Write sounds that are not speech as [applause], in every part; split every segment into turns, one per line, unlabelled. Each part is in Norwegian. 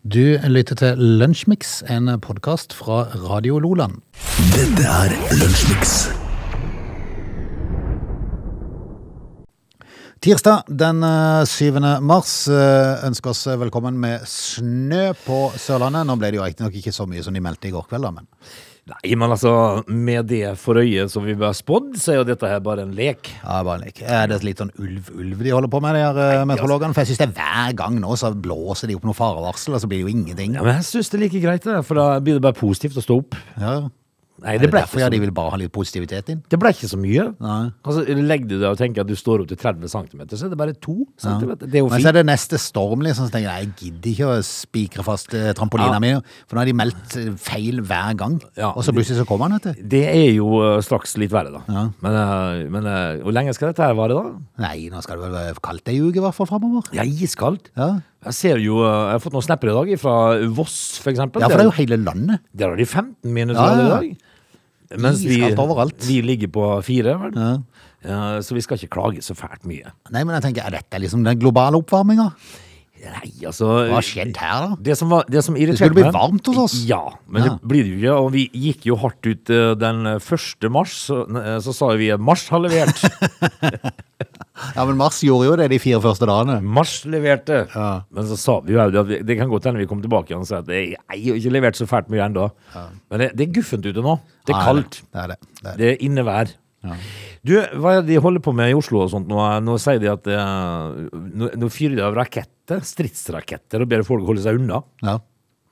Du lytter til Lunsjmix, en podkast fra Radio Loland.
Dette er Lunsjmix.
Tirsdag den eh, 7. mars eh, ønsker oss velkommen med snø på Sørlandet. Nå ble det jo riktignok ikke så mye som de meldte i går kveld, da, men
Nei, men altså, med det for øye som vi ble spådd, så er jo dette her bare en lek.
ja, bare en lek. Er det litt sånn ulv-ulv de holder på med, de her eh, meteorologene? For jeg syns det er hver gang nå så blåser de opp noe farevarsel, og så blir det jo ingenting.
Ja, men jeg syns det er like greit, det, for da blir det bare positivt å stå opp.
Ja.
Nei,
Er
det
det
ble, ikke
derfor ja,
så,
de vil bare ha litt positivitet inn?
det ble ikke så mye.
Nei.
Altså, Legger du deg og tenker at du står opp til 30 cm, så er det bare 2 cm. Det er jo
Men så
fint.
er det neste storm, liksom. Så tenker jeg jeg gidder ikke å spikre fast eh, trampolina
Ja.
mi, for nå har de meldt eh, feil hver gang.
Ja.
Og så plutselig så kommer han, vet du.
Det er jo eh, straks litt verre, da. Men, eh, men eh, hvor lenge skal dette her vare, da?
Nei, nå skal det vel være kaldt ei uke, i hvert fall framover.
Ja, iskaldt.
Ja.
Jeg ser jo, eh, jeg har fått noen snapper i dag fra Voss, for eksempel.
ja, for det er jo hele landet.
Der har de 15 minuser
Ja, ja, ja.
i dag. Mens vi,
Iskaldt overalt.
vi ligger på fire, vel? Eh, så vi skal ikke klage så fælt mye.
Nei, men jeg tenker, er dette liksom den globale oppvarminga?
Nei, altså
Hva har skjedd her, da?
Det som, var, det som irriterte
skulle bli varmt hos oss.
Ja, men
Ja.
det blir det jo ikke. Og vi gikk jo hardt ut eh, den 1. mars, så, eh, så sa vi at mars har levert.
[laughs] Ja, men Mars gjorde jo det de fire første dagene.
Mars leverte.
Ja.
Men så sa vi jo at vi, det kan godt hende vi kommer tilbake igjen og sier at det er ikke levert så fælt mye ennå. Men det, det er guffent ute nå. Det er
Nei,
kaldt.
Det er det. det, er det.
Det er innevær. Du, hva er det de holder på med i Oslo og sånt nå? Nå sier de at eh, nå, nå fyrer de av raketter, stridsraketter, og ber folk holde seg unna.
Ja.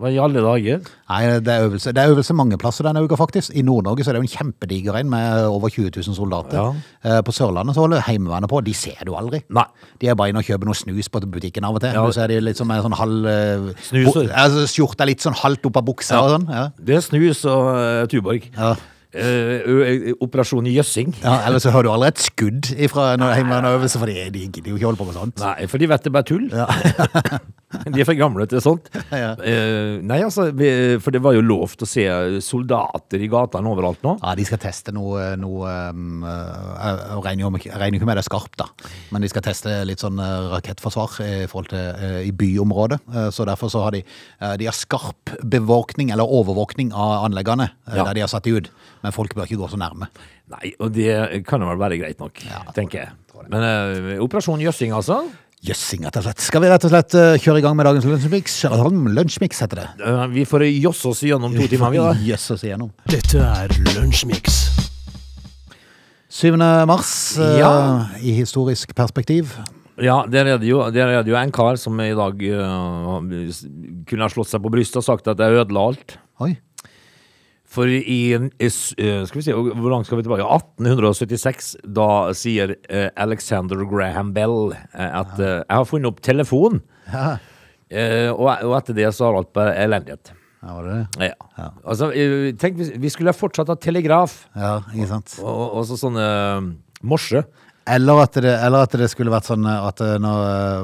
Hva i alle dager?
Nei, det er, øvelse. det er øvelse mange plasser denne uka, faktisk. I Nord-Norge så er det jo en kjempediger en med over 20 000 soldater.
Ja.
Eh, På Sørlandet så holder Heimevernet på, de ser du aldri.
Nei.
De er bare inne og kjøper noe snus på butikken av og til.
Ja.
Men Så er de litt som en sånn halv eh,
Snuser.
bo- Altså, skjorta litt sånn halvt opp av buksa og sånn. Ja.
Det er snus og eh, Tuborg.
Ja.
Eh, ø- ø- Operasjon Jøssing.
Ja, Eller så hører du aldri et skudd ifra når Heimevernet er over, så for de, de gidder jo ikke holde på med sånt.
Nei, for de vet det bare tull. [laughs] de er for gamle til sånt.
[laughs] Ja.
Eh, nei, altså, vi, for det var jo lovt å se soldater i gatene overalt nå.
Ja, De skal teste noe, noe um, Jeg jeg regner jo med- jeg regner jo ikke med det er skarpt, da. Men de skal teste litt sånn eh, rakettforsvar i, forhold til, eh, i byområdet. Eh, Så derfor så har de, eh, de har skarp bevåkning, eller overvåkning, av anleggene eh,
Ja.
der de har satt de ut. Men folk bør ikke gå så nærme.
Nei, og det kan jo vel være greit nok, tenker jeg. Men eh, Operasjon Jøssing, altså.
Jøssing, rett og slett. Skal vi rett og slett eh, kjøre i gang med dagens lunsjmix? Lunsjmix heter det.
Eh, Vi får josse oss gjennom [laughs] to timer, vi da.
Jøss oss igjennom.
Dette er Lunsjmix.
7. mars eh,
Ja.
i historisk perspektiv.
Ja, der er det jo, der er det jo en kar som i dag eh, s- kunne ha slått seg på brystet og sagt at jeg ødela alt.
Oi.
For i, en- i s- eh, skal vi se, hvor langt skal vi tilbake? 1876, da sier eh, Alexander Graham Bell eh, at eh, jeg har funnet opp telefon. Eh, og, og etter det så har alt bare elendighet.
Ja, var det det?
Ja. Altså, eh, tenk, hvis- vi skulle ha fortsatt hatt telegraf
Ja, ikke sant.
og, og og så sånne eh, morse.
Eller at, det, eller at det skulle vært sånn eh, at eh, når,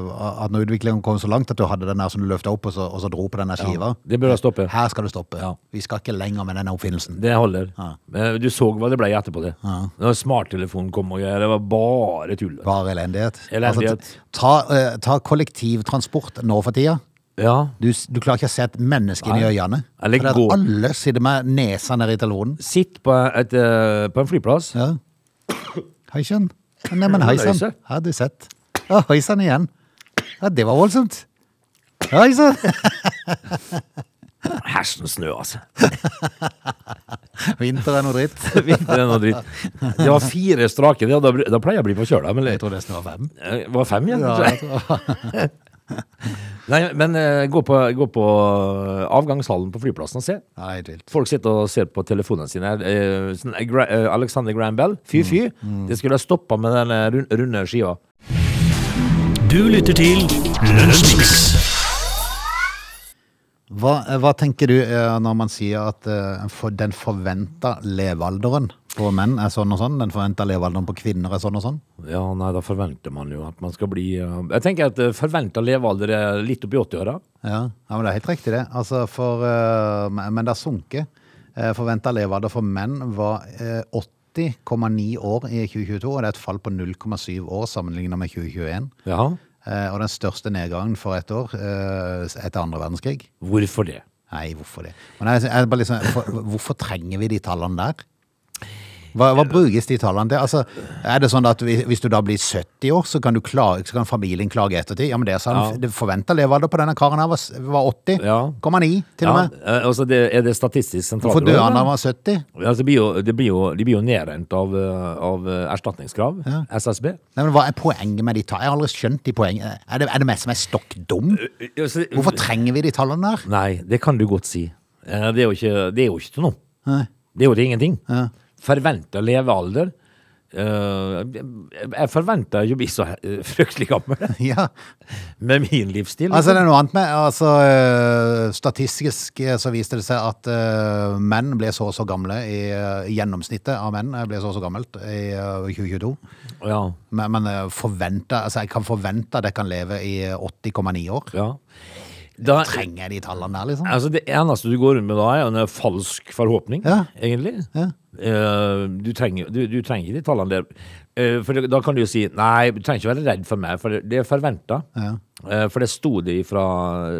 eh, at når utviklingen kom så langt at du hadde den der som du løfta opp og så, og så dro på den der skiva.
Det burde jeg stoppe.
Her skal du stoppe.
Ja.
Vi skal ikke lenger med denne oppfinnelsen.
Det holder.
Ja.
Eh, Du så hva det ble etterpå det. Når smarttelefonen kom og greier, det var bare tull.
Bare elendighet.
Elendighet.
Altså, ta, eh, ta kollektivtransport nå for tida.
Ja.
Du, s- du klarer ikke å se et menneske inn i øynene.
Eller
Fordi at
gå.
alle sitter med nesa nede i telefonen.
Sitt på, et, eh, på en flyplass.
Ja. Hei sann. Neimen, hei sann.
Løse.
Har du sett. Ja, hei sann igjen. Ja, det var voldsomt. Hei sann.
Hersen snø, altså.
[laughs] [laughs] Vinter er noe dritt.
Vinter er noe dritt. Det var fire strake, det, og da, br- da pleier jeg å bli forkjøla. Men det
Jeg tror nesten det var fem.
eh, var fem igjen.
Ja,
tror jeg.
jeg tror-
Nei, men eh, gå, på, gå på eh, avgangshallen på flyplassen og se.
Nei, helt vilt.
Folk sitter og ser på telefonene sine. Eh, sånn, eh, Gra- eh, Alexander Graham Bell,
Mm.
fy fy. Det skulle ha stoppa med den eh, rund- runde skiva.
Du lytter til Lunsjmix.
Hva, hva tenker du eh, når man sier at eh, for den forventa levealderen på menn er sånn og sånn, den forventa levealderen på kvinner er sånn og sånn?
Ja, nei, da forventer man jo at man skal bli eh, Jeg tenker at eh, forventa levealder er litt oppi 80-åra.
Ja, ja men det er helt riktig det. Altså for, eh, men men det har sunket. Eh, forventa levealder for menn var eh, 80,9 år i 2022, og det er et fall på 0,7 år sammenlignet med 2021.
Ja.
Eh, eh, og den største nedgangen for ett år eh, etter andre verdenskrig.
Hvorfor det?
Nei, hvorfor det? Men jeg, jeg bare liksom, for, hvorfor trenger vi de tallene der? Hva, hva brukes de tallene til? Altså, er det sånn at hvis hvis du da blir 70 år, så kan, du klage, så kan familien klage i ettertid? Ja, men det sa han.
Ja.
Det forventa levealder på denne karen her var, s- var 80.
Ja.
Komma 9, til og
Ja,
med.
eh, altså det, er det Statistisk
Hvorfor
sentralbyrå?
døde han da han
eller?
var 70?
Altså, det blir jo, det blir jo, de blir jo nedrent av, eh, av eh, erstatningskrav, SSB.
Nei, men Hva er poenget med de tallene? Jeg har aldri skjønt de poengene. Er det, er det meg som er stokk dum?
Øh,
Hvorfor trenger vi de tallene der?
Nei, det kan du godt si. Eh, Det er jo ikke, det er jo ikke til noe. Det er jo til ingenting. Forventa levealder eh, Jeg forventa ikke å bli så eh, fryktelig gammel
[laughs]
[laughs]
Ja,
med min livsstil.
altså det er noe annet med altså, øh, Statistisk øh, så viste det seg at øh, menn ble så og så gamle i øh, Gjennomsnittet av menn øh, ble så og så gammelt i øh, 2022
Ja,
Men, men øh, forventet, altså jeg kan forvente at jeg kan leve i øh, 80,9 år
ja. Da,
Trenger jeg de tallene der liksom?
altså det eneste du går rundt med da, er en falsk forhåpning,
Ja.
egentlig.
Ja.
Eh, du, trenger, du, du trenger ikke de tallene der. Eh, for da kan du jo si Nei, du trenger ikke være redd for meg, for det- det er forventa.
Ja.
Eh, for det sto det fra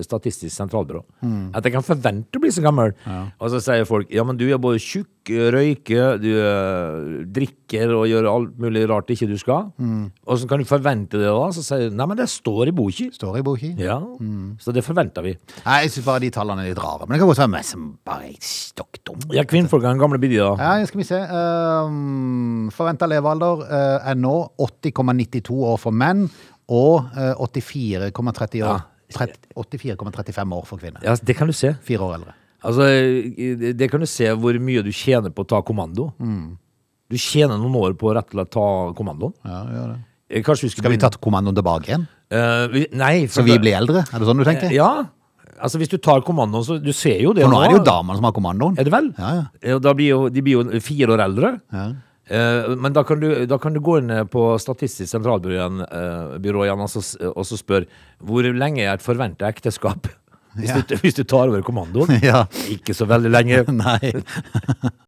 Statistisk sentralbyrå.
Mm.
At jeg kan forvente å bli så gammel. Og så sier folk ja, men du er både tjukk, røyker, du eh, drikker og gjør alt mulig rart ikke du skal.
Mm.
Åssen kan du forvente det da? Så sier de nei, men det står i boka.
Står i boki?
Ja,
Mm.
så det forventer vi.
Nei, jeg synes bare de tallene er litt rare Men det kan godt være meg som bare er stokk dum
Ja, kvinnfolkene, gamle bidja.
Ja, skal vi se. Um, Forventa levealder eh, er nå 80,92 år for menn og eh, 84,30
Ja.
år. Trett- 84,35 år for kvinner.
Ja, det kan du se.
Fire år eldre.
Altså, eh, det kan du se hvor mye du tjener på å ta kommando.
Mm.
Du tjener noen år på å rett og slett ta kommandoen. Eh, Kanskje vi skulle
Skal vi
begynne-
ta kommandoen tilbake igjen?
Eh, vi- nei, for
Så Mm. vi blir eldre? Er det sånn du tenker?
Ja. Altså, hvis du tar kommandoen, så Du ser jo det
For nå er det jo damene som har kommandoen.
Er det vel?
Ja, ja.
Eh, og Da blir jo, de blir jo fire år eldre. Eh, Men da kan, du, da kan du gå inn eh, på Statistisk sentralbyrå igjen, eh, byrå igjen og, så, s- og så spør hvor lenge er et forventa ekteskap? [laughs] Hvis,
Ja.
du, hvis du tar over kommandoen.
[laughs] [laughs] Ja.
Ikke så veldig
[laughs]
lenge.
Nei.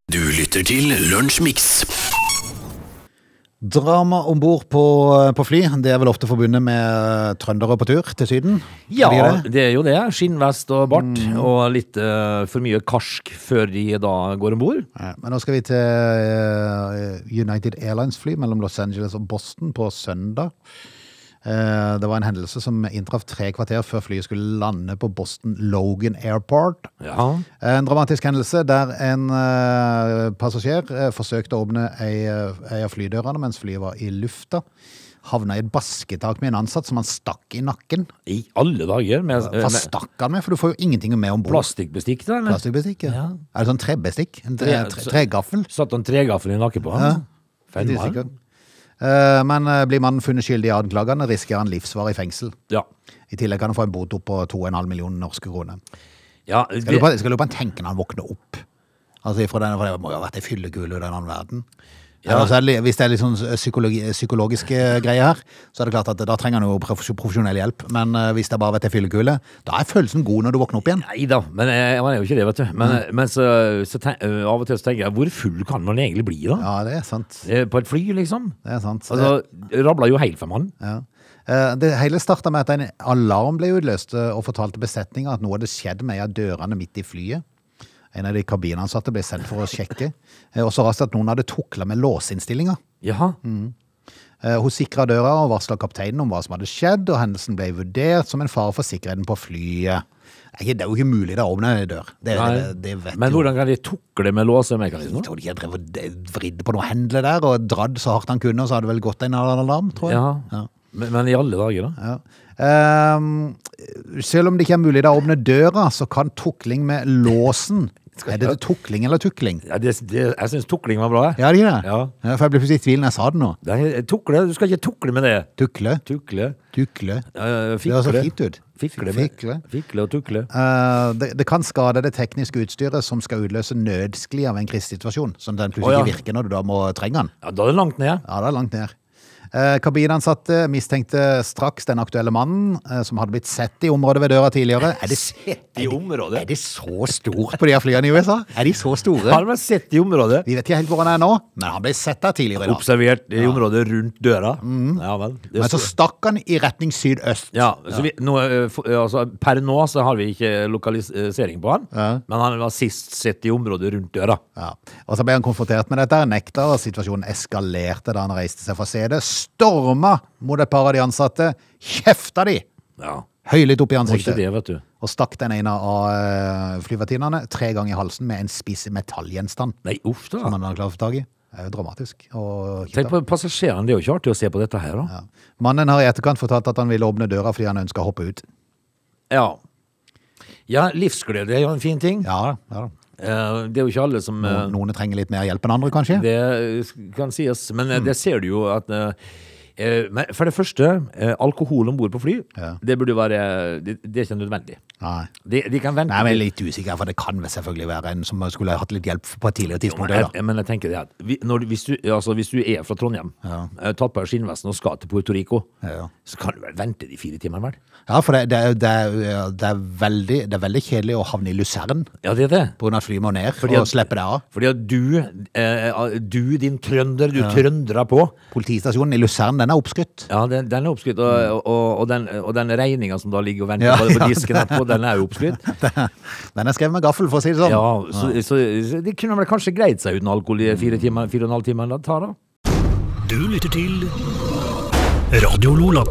Du lytter til Lunsjmix.
Drama om bord på, på fly, det er vel ofte forbundet med eh, trøndere på tur til Syden?
Ja,
Er det Mm. ikke det?
det er jo det. Skinnvest og bart, og litt eh, for mye karsk før de da går om bord.
Ja, Men nå skal vi til eh, United Airlines-fly mellom Los Angeles og Boston på søndag. Eh, Det var en hendelse som inntraff tre kvarter før flyet skulle lande på Boston Logan Airport.
Ja.
En dramatisk hendelse der en eh, passasjer eh, forsøkte å åpne ei, eh, ei av flydørene mens flyet var i lufta. Havna i et basketak med en ansatt som han stakk i nakken.
I alle dager. Med,
Hva
med
stakk han med? For du får jo ingenting med om bord.
plastikkbestikk der, eller?
Plastikkbestikk? Ja.
Ja.
Er det sånn trebestikk? En tre,
Ja,
tre,
så-
tregaffel?
Satt han tregaffelen i nakken på han? Feil
Litt
mann.
usikker. Eh, Men eh, blir mannen funnet skyldig i anklagene, risikerer han livsvarig fengsel.
Ja.
I tillegg kan han få en bot opp på 2,5 millioner norske kroner.
ja
Skal
det,
du på, skal du på en tenke når han våkner opp? Altså ifra den, for Det må jo ha vært ei fyllekule i den annen verden. Eller så er det, li- hvis det er litt sånn psykologi, psykologiske greier her, så er det klart at da trenger han jo prof- profesjonell hjelp. Men eh, hvis det har bare har vært ei fyllekule, da er følelsen god når du våkner opp igjen.
Nei da, men jeg, man er jo ikke det, vet du. Men,
Mm.
men så, så ten, ø, av og til så tenker jeg, hvor full kan man egentlig bli, da?
Ja, det er sant.
Eh, På et fly, liksom?
Det er sant.
Altså, Rabla jo helt for mannen.
Ja. Eh, Det hele starta med at en alarm ble utløst eh, og fortalte besetninga at noe hadde skjedd med en av dørene midt i flyet. En av de kabinansatte ble sendt for å sjekke. eh, Og så raskt at noen hadde tukla med låseinnstillinga.
Jaha.
Eh, Hun sikra døra og varsla kapteinen om hva som hadde skjedd, og hendelsen ble vurdert som en fare for sikkerheten på flyet. Nei, Det er jo ikke mulig det å åpne ei dør. Det,
Nei.
det, det vet
Men
jo
hvordan kan de tukle med
jeg
låsemekanismer?
tror de har drevet og vridd på noe hendler der og dradd så hardt han kunne, og så hadde det vel gått en alarm, tror jeg.
Ja. Men, men i alle dager, da?
Ja. Ehm, selv om det ikke er mulig da å åpne døra, så kan tukling med
[laughs]
låsen Er det tukling eller tukling?
Ja, det, det, jeg syns tukling var bra, jeg.
Ja, det er det.
Ja.
Ja, for jeg ble plutselig i tvil når jeg sa det nå.
Nei, tukle, du skal ikke tukle med det.
Tukle,
Tukle.
tukle.
eh,
Det høres så
fikle.
fint ut.
Fikle, med,
Fikle.
fikle og tukle.
Eh, det, det kan skade det tekniske utstyret som skal utløse nødskli av en krisesituasjon, sånn at den plutselig
Å, ja.
ikke virker når du da må trenge den.
Ja, da er det langt ned.
Ja, det er langt ned. Eh, Kabinansatte mistenkte straks den aktuelle mannen, eh, som hadde blitt sett i området ved døra tidligere. Er
[laughs]
det,
I området?
er det så stort på de her flyene i USA? Er de så store?
Har man sett i området?
Vi vet ikke helt hvor han er nå, men han ble sett der tidligere i dag.
Observert i området rundt døra? Ja vel. Det
Mm. Men så stakk han i retning sydøst.
Ja, så vi, nå, eh, for- altså, Per nå så har vi ikke lokalisering på han, men han var sist sett i området rundt døra.
Ja. Og så ble han konfrontert med dette, nekta, og situasjonen eskalerte da han reiste seg fra stedet. Storma mot et par av de ansatte, kjefta de
Ja,
høylytt opp i
Må ikke
ansiktet,
det, vet du.
og stakk den ene av eh, flyvertinnene tre ganger i halsen med en spiss metallgjenstand
Nei, uff
som
da.
han hadde klart å få tak i. Det er jo dramatisk. Og
Tenk
kjipt, da.
på passasjerene, det er jo ikke artig å se på dette her, da.
ja. Mannen har i etterkant fortalt at han ville åpne døra fordi han ønska å hoppe ut.
Ja. Ja, livsglede er jo en fin ting.
Ja, ja. da.
Eh, Det er jo ikke alle som eh,
Noen, noen trenger litt mer hjelp enn andre, kanskje.
Det kan sies, men
Mm.
eh, det ser du jo at eh, eh, men For det første, eh, alkohol om bord på fly,
Ja.
det burde jo være Det, det er ikke nødvendig.
Nei.
De, de kan vente.
Nei, men jeg er litt usikker, for det kan vel selvfølgelig være en som skulle hatt litt hjelp på et tidligere tidspunkt.
jeg,
også, da.
jeg- men jeg tenker det at vi, når, du- hvis, du, altså, hvis du er fra Trondheim,
Ja.
eh, tatt på deg skinnvesten og skal til Puerto Rico,
Ja.
så kan du vel vente de fire timene, vel?
Ja, for det, det, er- det, er- det, er veldig, det er veldig kjedelig å havne i Luzern
Ja, det er det.
på grunn av at flyet må ned
Fordi
og
at-
slippe det av.
Fordi at du, eh, du din trønder, du trøndrer på.
Politistasjonen i Luzern, den er oppskutt.
Ja, den, den er oppskrytt, og, og, og den, og den regninga som da ligger og venter
Mm. Ja,
på, på
ja,
disken etterpå, den er jo oppskrytt.
[laughs] Den er skrevet med gaffel, for å si det sånn.
Ja, så, så, så det kunne vel kanskje greit seg uten alkohol i
Mm.
fire, timer, fire og en halv time det tar, da.
Du lytter til Radio Lola.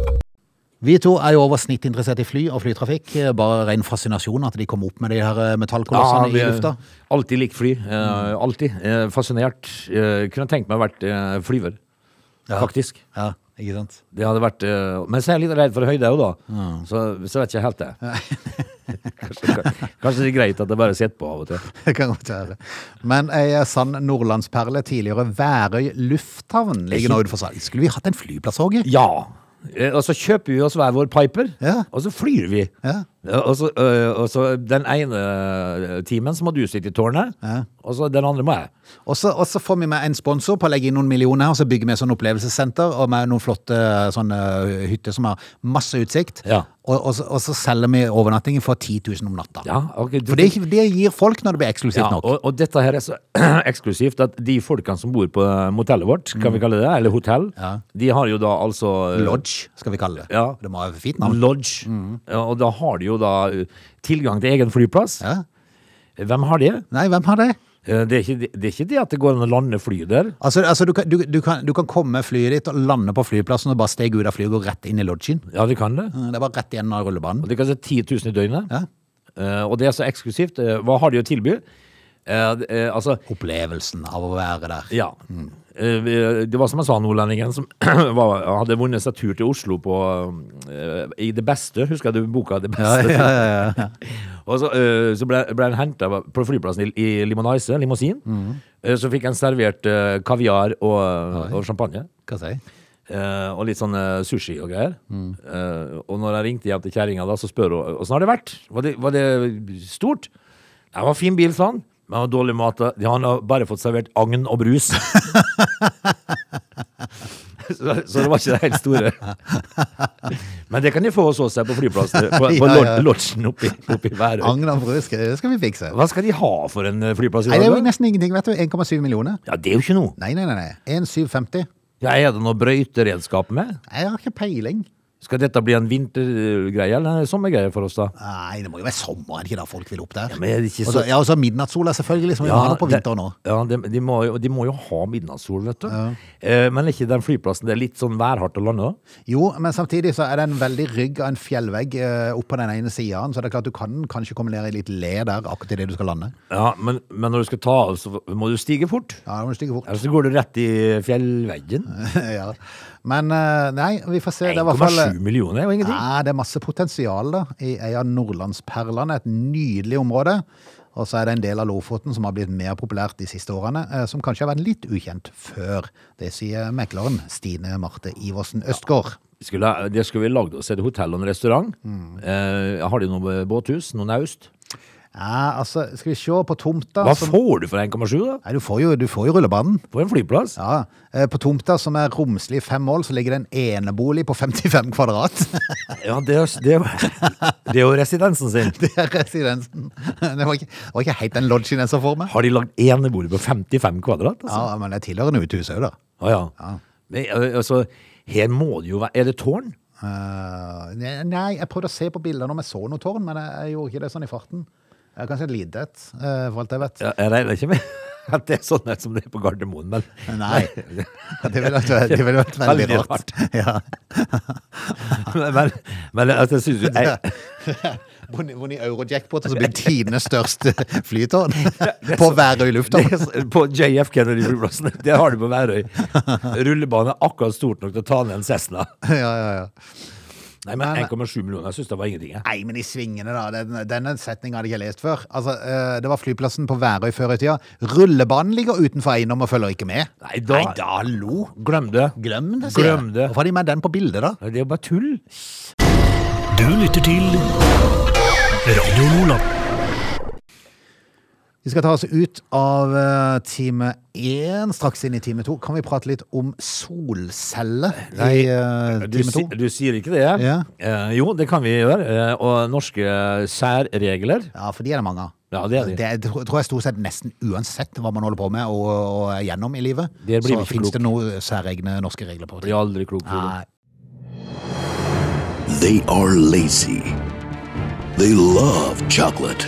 Vi to er jo over snitt interessert i fly og flytrafikk. Bare ren fascinasjon at de kom opp med de her eh, metallkolossene i lufta.
alltid likt fly. eh, alltid. eh, fascinert. Eh, kunne tenkt meg å vært eh, flyver,
Ja.
faktisk.
Ja, ikke sant? [laughs]
Det hadde vært eh, Men så er jeg litt redd for høyde òg, da. Så, så vet jeg ikke helt det. [laughs] kanskje, kanskje det er greit at jeg bare sitter på av og til.
Det kan godt være. Men ei eh, sann nordlandsperle, tidligere Værøy lufthavn, ligger nå utenfor salg. Skulle vi hatt en flyplass, Åge?
Ja. Eh, Og så kjøper vi oss hver vår Piper,
Ja.
og så flyr vi.
Ja.
Eh, Og, så, eh, og så den ene eh, timen så må du sitte i tårnet,
Ja.
og så den andre må jeg.
Og så og så får vi med en sponsor på å legge inn noen millioner her, og så bygger vi et sånn opplevelsessenter og med noen flotte eh, sånne hytter som har masse utsikt.
Ja.
Og, og, så, og så selger vi overnattingen for 10 000 om natta.
Ja, ok, du-
For det, det gir folk når det blir eksklusivt
ja,
nok.
og, og dette her er så [clears throat] eksklusivt at de folkene som bor på eh, motellet vårt, kan vi kalle det, eller hotell,
Mm. Ja.
de har jo da altså eh,
Lodge, Mm. skal vi kalle det.
Ja.
Det må ha et fint navn.
Lodge. Ja, og da har de jo da eh, tilgang til egen flyplass.
Ja.
Hvem har det?
Nei, hvem har det?
Eh, Det er, ikke, det er ikke det at det går an å lande fly der.
Altså, altså du, kan, du, du, kan, du kan komme med flyet ditt og lande på flyplassen og bare stege ut av flyet og gå rett inn i lodgen.
Ja, det kan det.
Det er bare rett igjen av rullebanen.
Og det koster 10 000 i døgnet.
Ja.
Eh, og det er så eksklusivt. Eh, hva har de å tilby? Eh, d- eh, altså,
Opplevelsen av å være der.
ja. Eh, vi- det var som jeg sa, nordlendingen som [clears throat] var, hadde vunnet seg tur til Oslo på eh, I Det Beste, husker jeg du boka Det Beste? [laughs] og så, eh, så ble, ble han henta på flyplassen i, i Limonaise, limousin. Eh, så fikk han servert eh, kaviar og, og champagne.
[laughs] Hva sier jeg?
Eh, og litt sånn eh, sushi og greier.
Mm.
Eh, og når jeg ringte hjem til kjerringa, da, så spør hun åssen har det vært. Var det, var det stort? Det var fin bil, sa han. Men han har dårlig mat. da. Han har bare fått servert agn og brus. [laughs] så, så det var ikke det helt store. [laughs] Men det kan de få hos oss her på
[laughs]
flyplassen. På, på
Ja, ja.
lod- lodgen oppi, oppi Værøy.
Agn og brus, det skal vi fikse.
Hva skal de ha for en eh, flyplass i
Nei, det er
dag?
jo
da?
nesten ingenting, vet du. 1,7 millioner.
Ja, det er jo ikke noe.
Nei, nei, nei. nei. 1,750.
Ja, er det noe brøyteredskap med?
Jeg har ikke peiling.
Skal dette bli en vintergreie eller en sommergreie for oss, da?
Nei, det må jo være sommer, er det ikke da folk vil opp der?
Ja, men er det ikke
Og så-
så-
ja, og så midnattssola selvfølgelig, som vi har nå på
det-
vinteren nå.
Ja, de, de, må jo, de må jo ha midnattssol, vet du. Eh, men er ikke den flyplassen det er litt sånn værhardt å lande, da?
Jo, men samtidig så er det en veldig rygg av en fjellvegg eh, opp på den ene siden, så det er klart du kan kanskje komme ned i litt le der akkurat i det du skal lande.
Ja, men, men når du skal ta av, så må du stige fort.
Ja, det må du stikke fort.
Eller så går du rett i fjellveggen.
[laughs] ja. Men eh, nei, vi får se. Det er i hvert fall
1,7 millioner er jo ingenting.
Nei, det er masse potensial da, i ei av nordlandsperlene, et nydelig område. Og så er det en del av Lofoten som har blitt mer populært de siste årene, eh, som kanskje har vært litt ukjent før. Det sier mekleren Stine Marte Iversen Østgaard.
Skulle,
Mm.
det skulle vi lagd oss et hotell og en restaurant. Eh, har de noe båthus? Noe naust?
Ja, altså, skal vi se på tomta
Hva
som-
får du for 1,7, da?
Nei, du får jo, du får jo rullebanen.
For en flyplass?
Ja, eh, På tomta som er romslig i fem mål, så ligger det en enebolig på 55 kvadrat. [laughs]
Ja, det er, jo- [laughs] det, er, jo- det er jo residensen sin.
Det er residensen. Det var ikke, det var ikke helt den lodgen jeg så for meg.
Har de lagd enebolig på 55 kvadrat? Altså?
Ja, Men det tilhører nå uthuset òg, da.
Å, ja. Men, eh, altså, her må det jo være Er det tårn?
Eh, ne- nei, jeg prøvde å se på bildene om jeg så noe tårn, men jeg, jeg gjorde ikke det sånn i farten. Jeg har Kanskje et lite et, eh, for alt jeg vet.
Ja, Jeg regner ikke med [laughs] at det er sånn her som det er på Gardermoen, men
Nei. [laughs] Det ville vært, det ville vært veldig,
Veldig
rart. [laughs] Ja.
[laughs] Men, men altså, jeg synes jo
[laughs]
[laughs] jeg,
Vunnet Eurojackpot og så
[laughs]
blir tidenes største flytårn på Værøy
det,
lufthavn.
er så- På JF Kennedy-flyplassen, det har du på Værøy. Rullebane er akkurat stort nok til å ta ned en Cessna.
[laughs] Ja, ja, ja.
Nei, men 1,7 millioner, jeg syns det var ingenting. Jeg.
Nei, men i svingene, da. Den, denne setningen hadde jeg ikke lest før. Altså, eh, Det var flyplassen på Værøy før i tida. Rullebanen ligger utenfor eiendom og følger ikke med.
Nei, da,
hallo!
Glem det.
Glem det, sier
Glem
jeg.
det.
Hvorfor har de med den på bildet, da?
Det er jo bare tull.
Du lytter til Radio Lola.
Vi skal ta oss ut av eh, time én, straks inn i time to. Kan vi prate litt om solceller i eh,
Du,
time
si,
to?
du sier ikke det?
Ja.
Eh, jo, det kan vi gjøre. Eh, og norske særregler
Ja, for de er det mange av.
Ja, det er de.
Det er- tro- tror jeg stort sett nesten uansett hva man holder på med og, og er gjennom i livet,
Der blir vi
så
ikke
fins
klok.
det noen særegne norske regler på det.
blir aldri klok på.
Nei.
They are lazy. They love chocolate.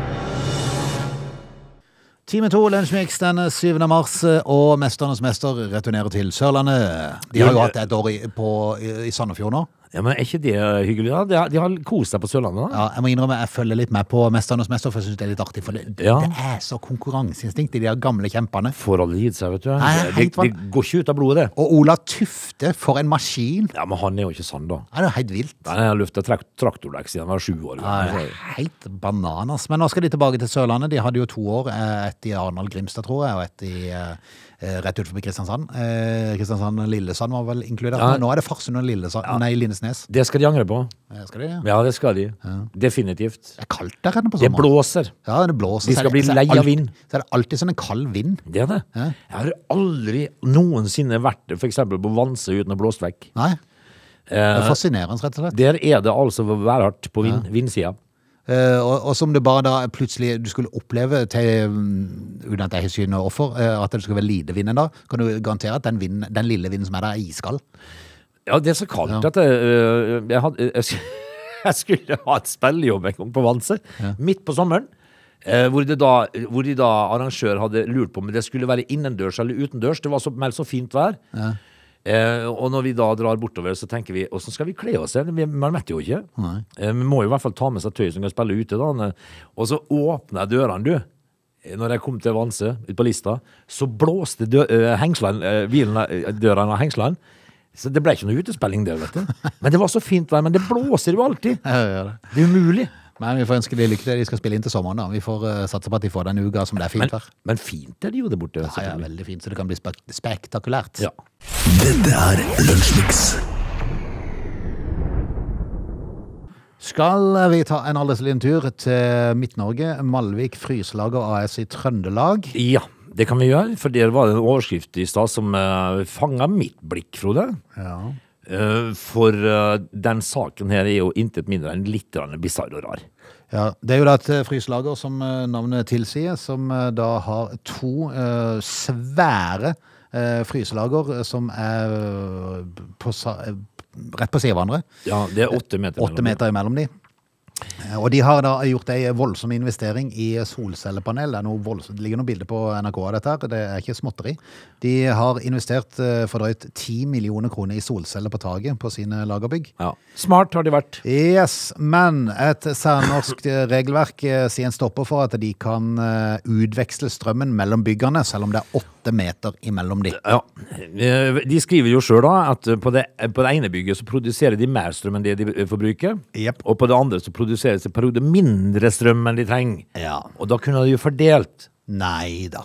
Time to, Lunsjmix den 7. mars, og Mesternes mester returnerer til Sørlandet. De har jo hatt et år i, på, i Sandefjord nå.
Ja, men Er ikke det hyggelig? da? De har, de har kost seg på Sørlandet. da.
Ja, jeg må innrømme, jeg følger litt med på Mesternes mester, for jeg syns det er litt artig. For det,
Ja.
det er så konkurranseinstinkt i de her gamle kjempene.
Får aldri gitt seg, vet du.
Nei,
det,
helt
det
vann-
går ikke ut av blodet, det.
Og Ola Tufte, for en maskin!
Ja, Men han er jo ikke sann, da.
Det er jo helt vilt.
Han har lufta trak traktordekk siden han var sju år.
Ja, det
gammel.
er Helt bananas. Men nå skal de tilbake til Sørlandet. De hadde jo to år. eh, Et i Arendal Grimstad, tror jeg, og et i eh, eh, rett utenfor Kristiansand. Eh, Kristiansand og Lillesand var vel inkludert.
Ja.
Men nå er det Farsund og Lillesand. Nei, Lindesnes.
Det skal de angre på.
Eh, Skal de det?
Ja, det skal de. Definitivt.
Det er kaldt der inne på
Det
sommeren.
blåser.
Ja, det blåser.
De
så er det-
skal bli
så er
lei av
alt-
vind.
Så er det alltid sånn en kald vind.
Det er det.
Ja.
Jeg har aldri noensinne vært f.eks. på Vanse uten å blåse vekk.
Nei, det er
Eh,
fascinerende, rett og slett.
der er det altså værhardt på vind, vindsida.
Eh, og, og som du bare da plutselig du skulle oppleve til, mm, uten at jeg har syn og offer, eh, at det skulle være lite vind en dag, kan du garantere at den, vinden, den lille vinden som er der, er iskald. [laughs]
Ja, det er så kaldt at jeg, øh, [laughs] jeg, hadde, jeg, sk- jeg skulle ha et spillejobb en gang på Vanse, midt på sommeren. eh, hvor, det da, hvor de da arrangør hadde lurt på om det skulle være innendørs eller utendørs. Det var så, meldt så fint vær. Eh, og når vi da drar bortover, så tenker vi åssen skal vi kle oss? hen? Vi- Man vet jo ikke. Eh, vi må jo i hvert fall ta med seg tøy som kan spille ute. da Og så åpner jeg dørene, du. Eh, Når jeg kom til Vanse, ut på Lista, så blåste dø eh, hengslene, eh, bilen, eh, dørene av hengslene. Så det ble ikke noe utespilling
[laughs]
der, vet du. Men det var så fint vær. Men det blåser jo alltid. Det er umulig.
Men vi får ønske de lykke til. De skal spille inn til sommeren. da. Vi får eh, satse på at de får den uka som det er fint
Men,
vær.
men fint er det jo der borte.
Ja, ja,
selvfølgelig.
veldig fint, så det kan bli spek spektakulært.
Ja.
Dette er Lunsjmix.
Skal vi ta en aldri så liten tur til Midt-Norge? Malvik Fryslager AS i Trøndelag.
ja, det kan vi gjøre. For der var det en overskrift i stad som uh, fanga mitt blikk, Frode.
Ja.
Eh, for eh, den saken her er jo intet mindre enn litt grann bisarr og rar.
Ja, det er jo da et eh, fryslager, som eh, navnet tilsier, som eh, da har to eh, svære eh, fryselager eh, som er eh, på, sa- eh, rett på siden av hverandre.
Ja, det er åtte meter.
Åtte
mellom.
meter imellom de. Eh, Og de har da gjort ei voldsom investering i solcellepanel. Det, er noe voldsomt, det ligger noen bilder på NRK av dette, her, det er ikke småtteri. De har investert eh, for drøyt 10 millioner kroner i solceller på taket på sine lagerbygg.
Ja. Smart har de vært.
Yes, men et særnorsk eh, regelverk eh, sier en stopper for at de kan eh, utveksle strømmen mellom byggene, selv om det er åtte åtte meter imellom de.
Ja. Eh, De skriver jo sjøl at eh, på det, eh, på det ene bygget så produserer de mer strøm enn det de eh, forbruker.
Jepp.
Og på det andre så produseres det i perioder mindre strøm enn de trenger.
Ja.
Og da kunne de jo fordelt.
Nei da.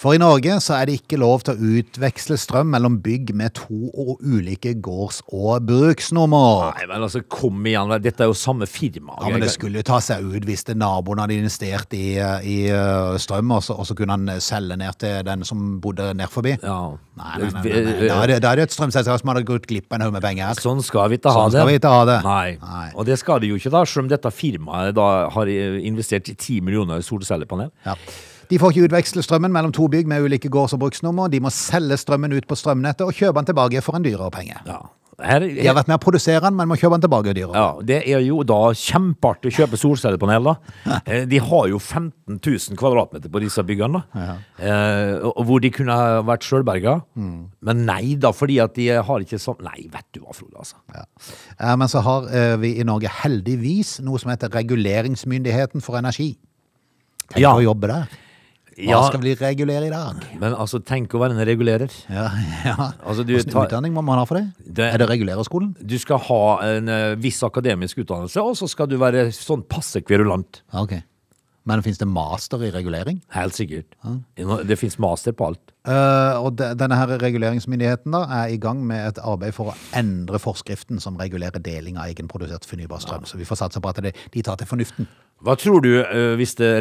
For i Norge så er det ikke lov til å utveksle strøm mellom bygg med to og ulike gårds- og bruksnummer.
Nei vel, altså kom igjen, vel, dette er jo samme firma.
Ja, men Det skulle jo ta seg ut hvis det naboen hadde investert i, eh, i eh, strøm, og så, og så kunne han eh, selge ned til den som bodde ned forbi.
Ja.
Nei, nei, nei, nei, nei. Da er det, da er det et strømselskap som hadde gått glipp av en haug med penger. her.
Sånn skal vi ikke ha
Sånn
det.
skal vi ikke ha det.
Nei.
Nei.
Og det skal de jo ikke, da, selv om dette firmaet da har eh, investert i 10 millioner i solcellepanel.
Ja. De får ikke utveksle strømmen mellom to bygg med ulike gårds- og bruksnummer. De må selge strømmen ut på strømnettet og kjøpe den tilbake for en dyrere penge.
Ja. Her,
De har vært med å produsere den, men må kjøpe den tilbake dyrere.
ja, det er jo da kjempeartig å kjøpe solcellepanel,
[laughs]
da. Eh, De har jo 15 000 kvadratmeter på disse byggene, da. Eh, og- og hvor de kunne ha vært sjølberga.
Mm.
Men nei da, fordi at de har ikke sånn Nei, vet du hva, Frode, altså.
Ja. Eh, Men så har eh, vi i Norge heldigvis noe som heter Reguleringsmyndigheten for energi. Tenk
Ja.
å jobbe der. Hva
Ja,
skal vi regulere i dag?
men altså, tenk å være en regulerer.
Ja, ja.
Altså, du
Hvordan
tar-
utdanning må man ha for det?
Det-
Er det regulererskolen?
Du skal ha en eh, viss akademisk utdannelse, og så skal du være sånn passe kverulant.
Ja, ok. Men finnes det master i regulering?
Helt sikkert. Det fins master på alt.
Eh, og de, denne her reguleringsmyndigheten da, er i gang med et arbeid for å endre forskriften som regulerer deling av egenprodusert fornybar strøm. Så vi får satse på at det, de tar til fornuften.
Hva tror du eh, hvis det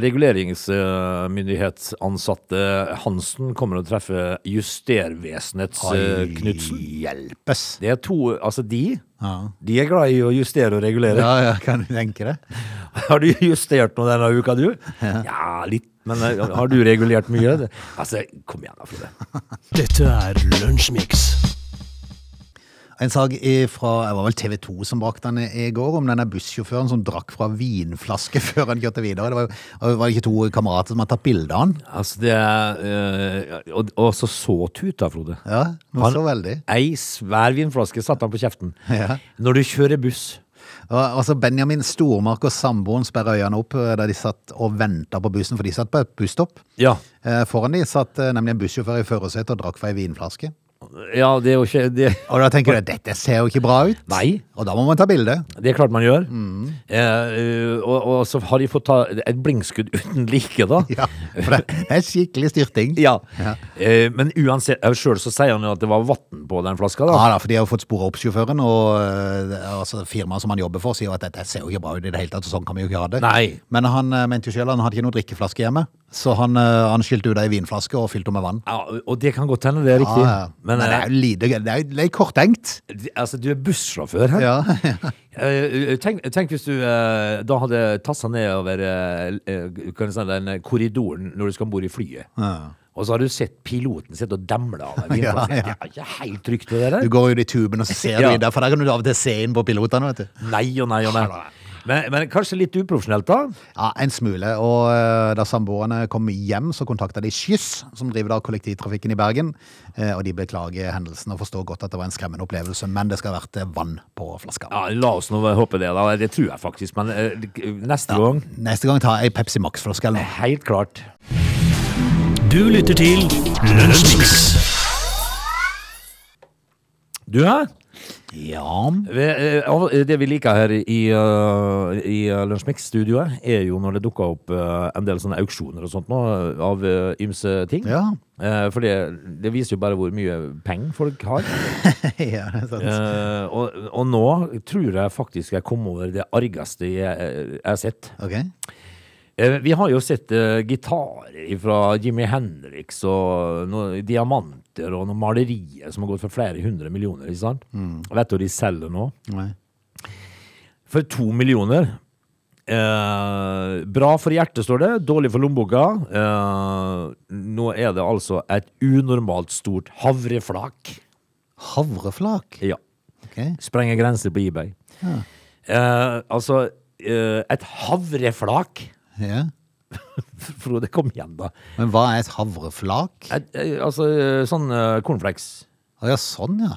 reguleringsmyndighetsansatte Hansen kommer og treffer justervesenets eh, Knutsen?
Hjelpes!
Det er to Altså, de
Ja.
De er glad i å justere og regulere.
Ja, ja, kan du tenke det?
[laughs] Har du justert noe denne uka, du? Ja, litt. Men eh, har du regulert mye?
[laughs]
Det- Altså, kom igjen da, Frode.
Dette er Lunsjmix.
En sak fra det var vel TV 2 som brakte den i går, om denne bussjåføren som drakk fra vinflaske [laughs] før han kjørte videre. Det var, jo- var det ikke to kamerater som hadde tatt bilde av han?
Altså, det er eh, og, og så så tuta, Frode.
Ja,
Han-
noe så veldig.
Ei svær vinflaske satte han på kjeften.
Ja.
Når du kjører buss.
Og, altså Benjamin Stormark og samboeren sperra øynene opp eh, da de satt og venta på bussen, for de satt på et busstopp.
Ja.
Eh, Foran de satt eh, nemlig en bussjåfør i førersetet og drakk fra ei vinflaske.
ja, det er jo ikke det,
Og da tenker du dette ser jo ikke bra ut,
Nei.
og da må man ta bilde.
det er klart man gjør. Eh, eh, og, og så har de fått ta et blinkskudd [laughs] uten like, da.
Ja, for det er skikkelig styrting.
Ja. Eh, men uansett, sjøl så sier han jo at det var vann på den flaska, da.
Ja da, for de har jo fått spora opp sjåføren, og eh, det- altså, firmaet som han jobber for sier jo at dette ser jo ikke bra ut i det hele tatt, og sånn kan vi jo ikke ha det.
Nei.
Men han eh, mente jo selv han hadde ikke noen drikkeflaske hjemme, så han, eh, han skylte ut ei vinflaske og fylte henne med vann.
Ja, og det kan godt hende, det er riktig.
Ja, ja.
Men
Men det er jo lite, det er jo det er korttenkt.
eh, altså, du er bussjåfør her.
Ja,
Eh, tenk, tenk hvis du eh, da hadde tassa nedover eh, eh, kan du si, den eh, korridoren når du skal om bord i flyet. Og så har du sett piloten sitte og demle av [laughs] deg.
Ja,
vinflasken.
ja.
Det er ikke helt trygt, det
[laughs]
der. eh?
Du går jo i tuben og så ser du
Ja.
i der, for der kan du av og til se inn på pilotene, vet du.
Nei og nei og nei. Men, men kanskje litt uprofesjonelt, da.
Ja, en smule. Og eh, da samboerne kom hjem, så kontakta de Skyss, som driver da kollektivtrafikken i Bergen. Eh, Og de beklager hendelsen og forstår godt at det var en skremmende opplevelse, men det skal ha vært eh, vann på flaska.
Ja, La oss nå håpe det, da. Det tror jeg faktisk. Men eh, neste gang,
Neste gang ta ei Pepsi Max-flaske eller noe.
helt klart.
Du lytter til Lunsjmix.
Du, hæ?
Ja.
Vi, eh, av- Det vi liker her i, eh, i Lunsjmix-studioet, er jo når det dukker opp eh, en del sånne auksjoner og sånt nå, eh, av eh, ymse ting.
Ja.
Eh, For det, det viser jo bare hvor mye penger folk har.
[laughs] ja det er sant.
Eh, og, og nå tror jeg faktisk jeg kom over det argeste jeg, jeg har sett.
Ok.
Eh, Vi har jo sett eh, gitarer fra Jimmy Hendrix og noen diamanter og noen malerier som har gått for flere hundre millioner. ikke sant? Vet du hva de selger nå?
Nei.
For to millioner. Eh, bra for hjertet, står det. Dårlig for lommeboka. Eh, nå er det altså et unormalt stort havreflak.
Havreflak.
Ja.
Ok.
Sprenger grenser på eBay. Eh, altså, eh, et havreflak [laughs]
Ja.
Frode, kom igjen, da.
Men hva er et havreflak?
Et, eh, altså eh, sånn eh, cornflakes-greie.
Å ja, sånn ja.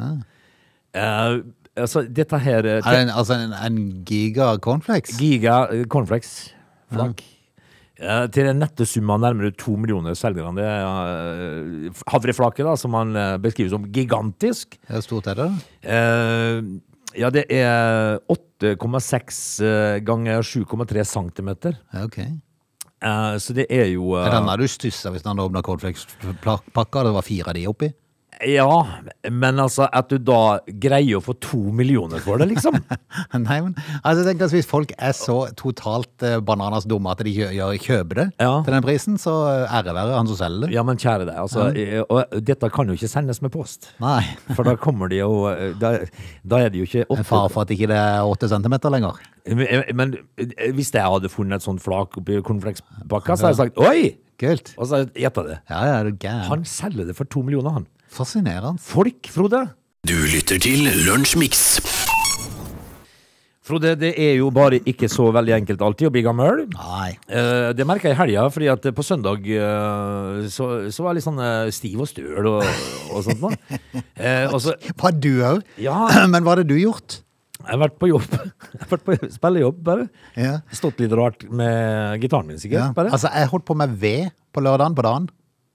Eh, altså, dette her eh,
Er det en, altså en, en giga cornflakes?
Giga eh, cornflakes. Flak. Eh, Til den nette sum av nærmere to millioner selger han det eh, havreflaket, da, som han eh, beskriver som gigantisk.
Hvor stort er det?
Eh, ja, det er 8,6 eh, ganger 7,3 centimeter.
Ja, Ok. Er
Eh, så det er jo eh,
det denne du stussa hvis den åpna cornflakespakka? Det var fire av de oppi? [laughs]
eh, Ja, men altså at du da greier å få to millioner for det, liksom.
Nei, men altså, jeg tenker at Hvis folk er så totalt eh, bananas dumme at de kjø gjør- kjøper det
Ja.
til den prisen, så eh, ære være han som selger det.
Ja, men kjære deg, altså, eh, og dette kan jo ikke sendes med post.
Nei. [laughs]
For da kommer de jo eh, Da, da er det jo ikke
En
åtte
far for at ikke det er åtte centimeter lenger.
Men, men eh, hvis jeg hadde funnet et sånt flak oppi cornflakespakka, så hadde jeg sagt oi!
Kult.
Og så hadde jeg gjetta det.
Ja, ja, er du gæren.
Han selger det for to millioner, han.
Fascinerende.
Folk, Frode.
Du lytter til Lunsjmix.
Frode, det er jo bare ikke så veldig enkelt alltid å bli gammel.
Nei.
Eh, det merka jeg i helga, fordi at på søndag eh, så, så var jeg litt sånn eh, stiv og støl og, og
[laughs]
sånt noe. Eh, og så
Var du òg? [clears throat]
Ja.
Men hva hadde du gjort?
Jeg har vært på jobb. [laughs] Jeg har vært på spillejobb, bare.
Ja.
Stått litt rart med gitaren min,
Ja.
sikkert. bare.
Altså, jeg holdt på med ved på lørdagen på dagen.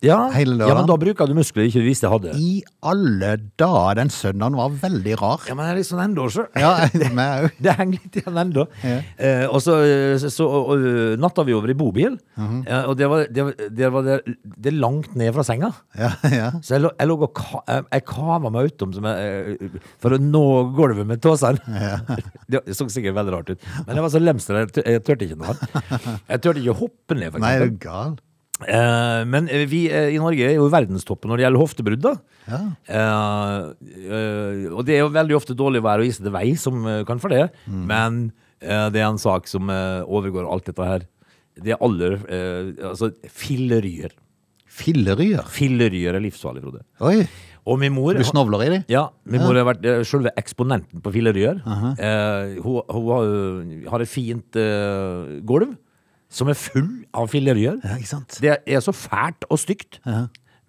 Ja,
Hele lørdagen.
ja, men da bruker du muskler ikke du visste jeg hadde.
I alle dager. Den søndagen var veldig rar.
Ja, men jeg er litt sånn ennå, så.
Ja, jeg meg òg.
[laughs] Det henger litt igjen ennå.
Ja.
Eh, og så, eh, så og, og, natta vi over i bobil,
Mhm.
eh, og det var, det, var- det, var det, det er langt ned fra senga.
Ja, ja.
Så jeg, lå- jeg, lå og ka, jeg, jeg kava meg utom som jeg, eh, for å nå gulvet med tåsene. [laughs] Det så sikkert veldig rart ut. Men jeg var så lemstra, jeg, tør- jeg turte ikke
[laughs]
noe annet. Jeg turte ikke å hoppe ned, for
Nei,
eksempel.
er du gal?
Eh, men eh, vi eh, i Norge er jo i verdenstoppen når det gjelder hoftebrudd, da.
Ja.
Eh, eh, og det er jo veldig ofte dårlig vær og isete vei som eh, kan for det,
Mm.
men eh, det er en sak som eh, overgår alt dette her. Det er aller eh, Altså, filleryer.
Filleryer.
Filleryer er livsfarlig, Frode.
Oi.
Og min mor
Du snovler i de?
ja, min mor har vært eh, selve eksponenten på filleryer. eh, hun hun har, jo- har et fint eh, gulv som er full av filleryer.
Ja, ikke sant?
Det er så fælt og stygt.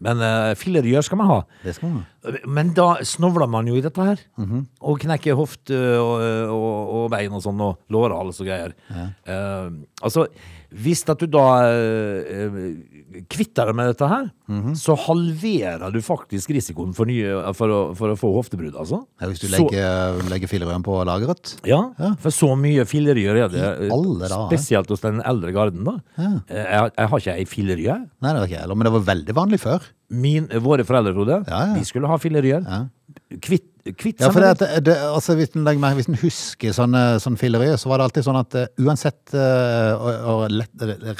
Men uh, fillerør skal man ha.
Det skal man ha.
Men da snovler man jo i dette her.
Mhm.
Og knekker hofte og, og, og bein og sånn, og lårhals og greier. Eh, altså, hvis at du da eh, kvitter deg med dette her,
Mhm.
så halverer du faktisk risikoen for, nye, for, å, for å få hoftebrudd, altså.
Ja, hvis du
Så-
legger, legger fillerøren på lageret?
ja,
Ja.
for så mye fillerør er det. eh,
I alle dager.
Spesielt hos den eldre garden, da. Eh, Jeg, jeg har ikke ei fillerør, jeg.
Nei, det var ikke jeg heller, men det var veldig vanlig før.
min, våre foreldre, Frode,
Ja, ja.
de skulle ha filleryer. Kvitt, kvitt
Ja,
seg
for
med
det, at det, altså, hvis, en legger merke- hvis en husker sånn, eh, sånn fillerøye, så var det alltid sånn at eh, uansett eh, og, og lett,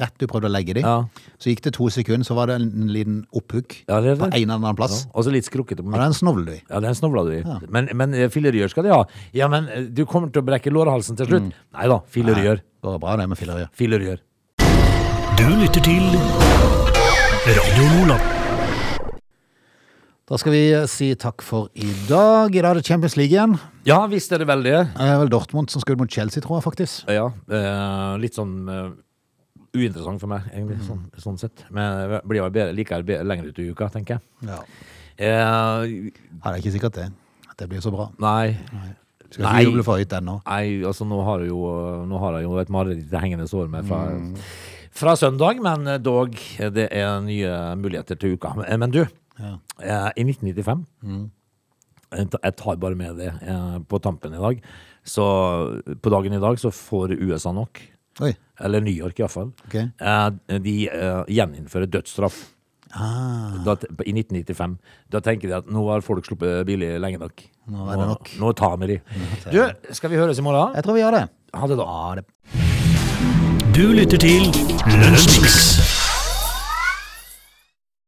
rett du prøvde å legge dem,
Ja.
så gikk det to sekunder, så var det en liten opphugg
Ja, det er
på
det.
en eller annen plass.
Ja, Og så litt skrukkete på
Og
meg.
den snovlet du i.
Ja, den snovla du i. Men, men eh, filleryer skal de ha. Ja, men eh, du kommer til å brekke lårhalsen til slutt. Nei da, filleryer.
Det går bra det med fillerøye.
Filleryer.
Du lytter til Radio Lola.
Da skal vi eh, si takk for i dag. I dag er det Champions League igjen.
Ja, visst er det vel det.
Det er vel Dortmund som skal ut mot Chelsea, tror jeg faktisk.
Ja, eh, litt sånn eh, uinteressant for meg, egentlig, sånn, sånn sett. Men jeg blir jo bedre, liker bedre lenger ut i uka, tenker jeg.
Ja.
Eh,
det er ikke sikkert det. At det blir så bra.
nei.
Skal
Nei.
ikke juble for høyt ennå.
Nei, altså nå har, jeg jo, nå har jeg jo et mareritt hengende sår med fra, fra søndag, men eh, dog, det er nye muligheter til uka. Men du, eh, i 1995, jeg ta- jeg tar bare med det eh, på tampen i dag, så på dagen i dag så får USA nok,
Oi.
eller New York i hvert fall,
Ok.
eh, de eh, gjeninnfører dødsstraff. Da, t- I 1995. Da tenker de at nå har folk sluppet billig lenge nok.
Nå er det nok.
Nå, nå tar vi de. Du, skal vi høres i morgen?
Jeg tror vi gjør det.
Ha det, da.
Ha det.
Du lytter til Lunsjmix.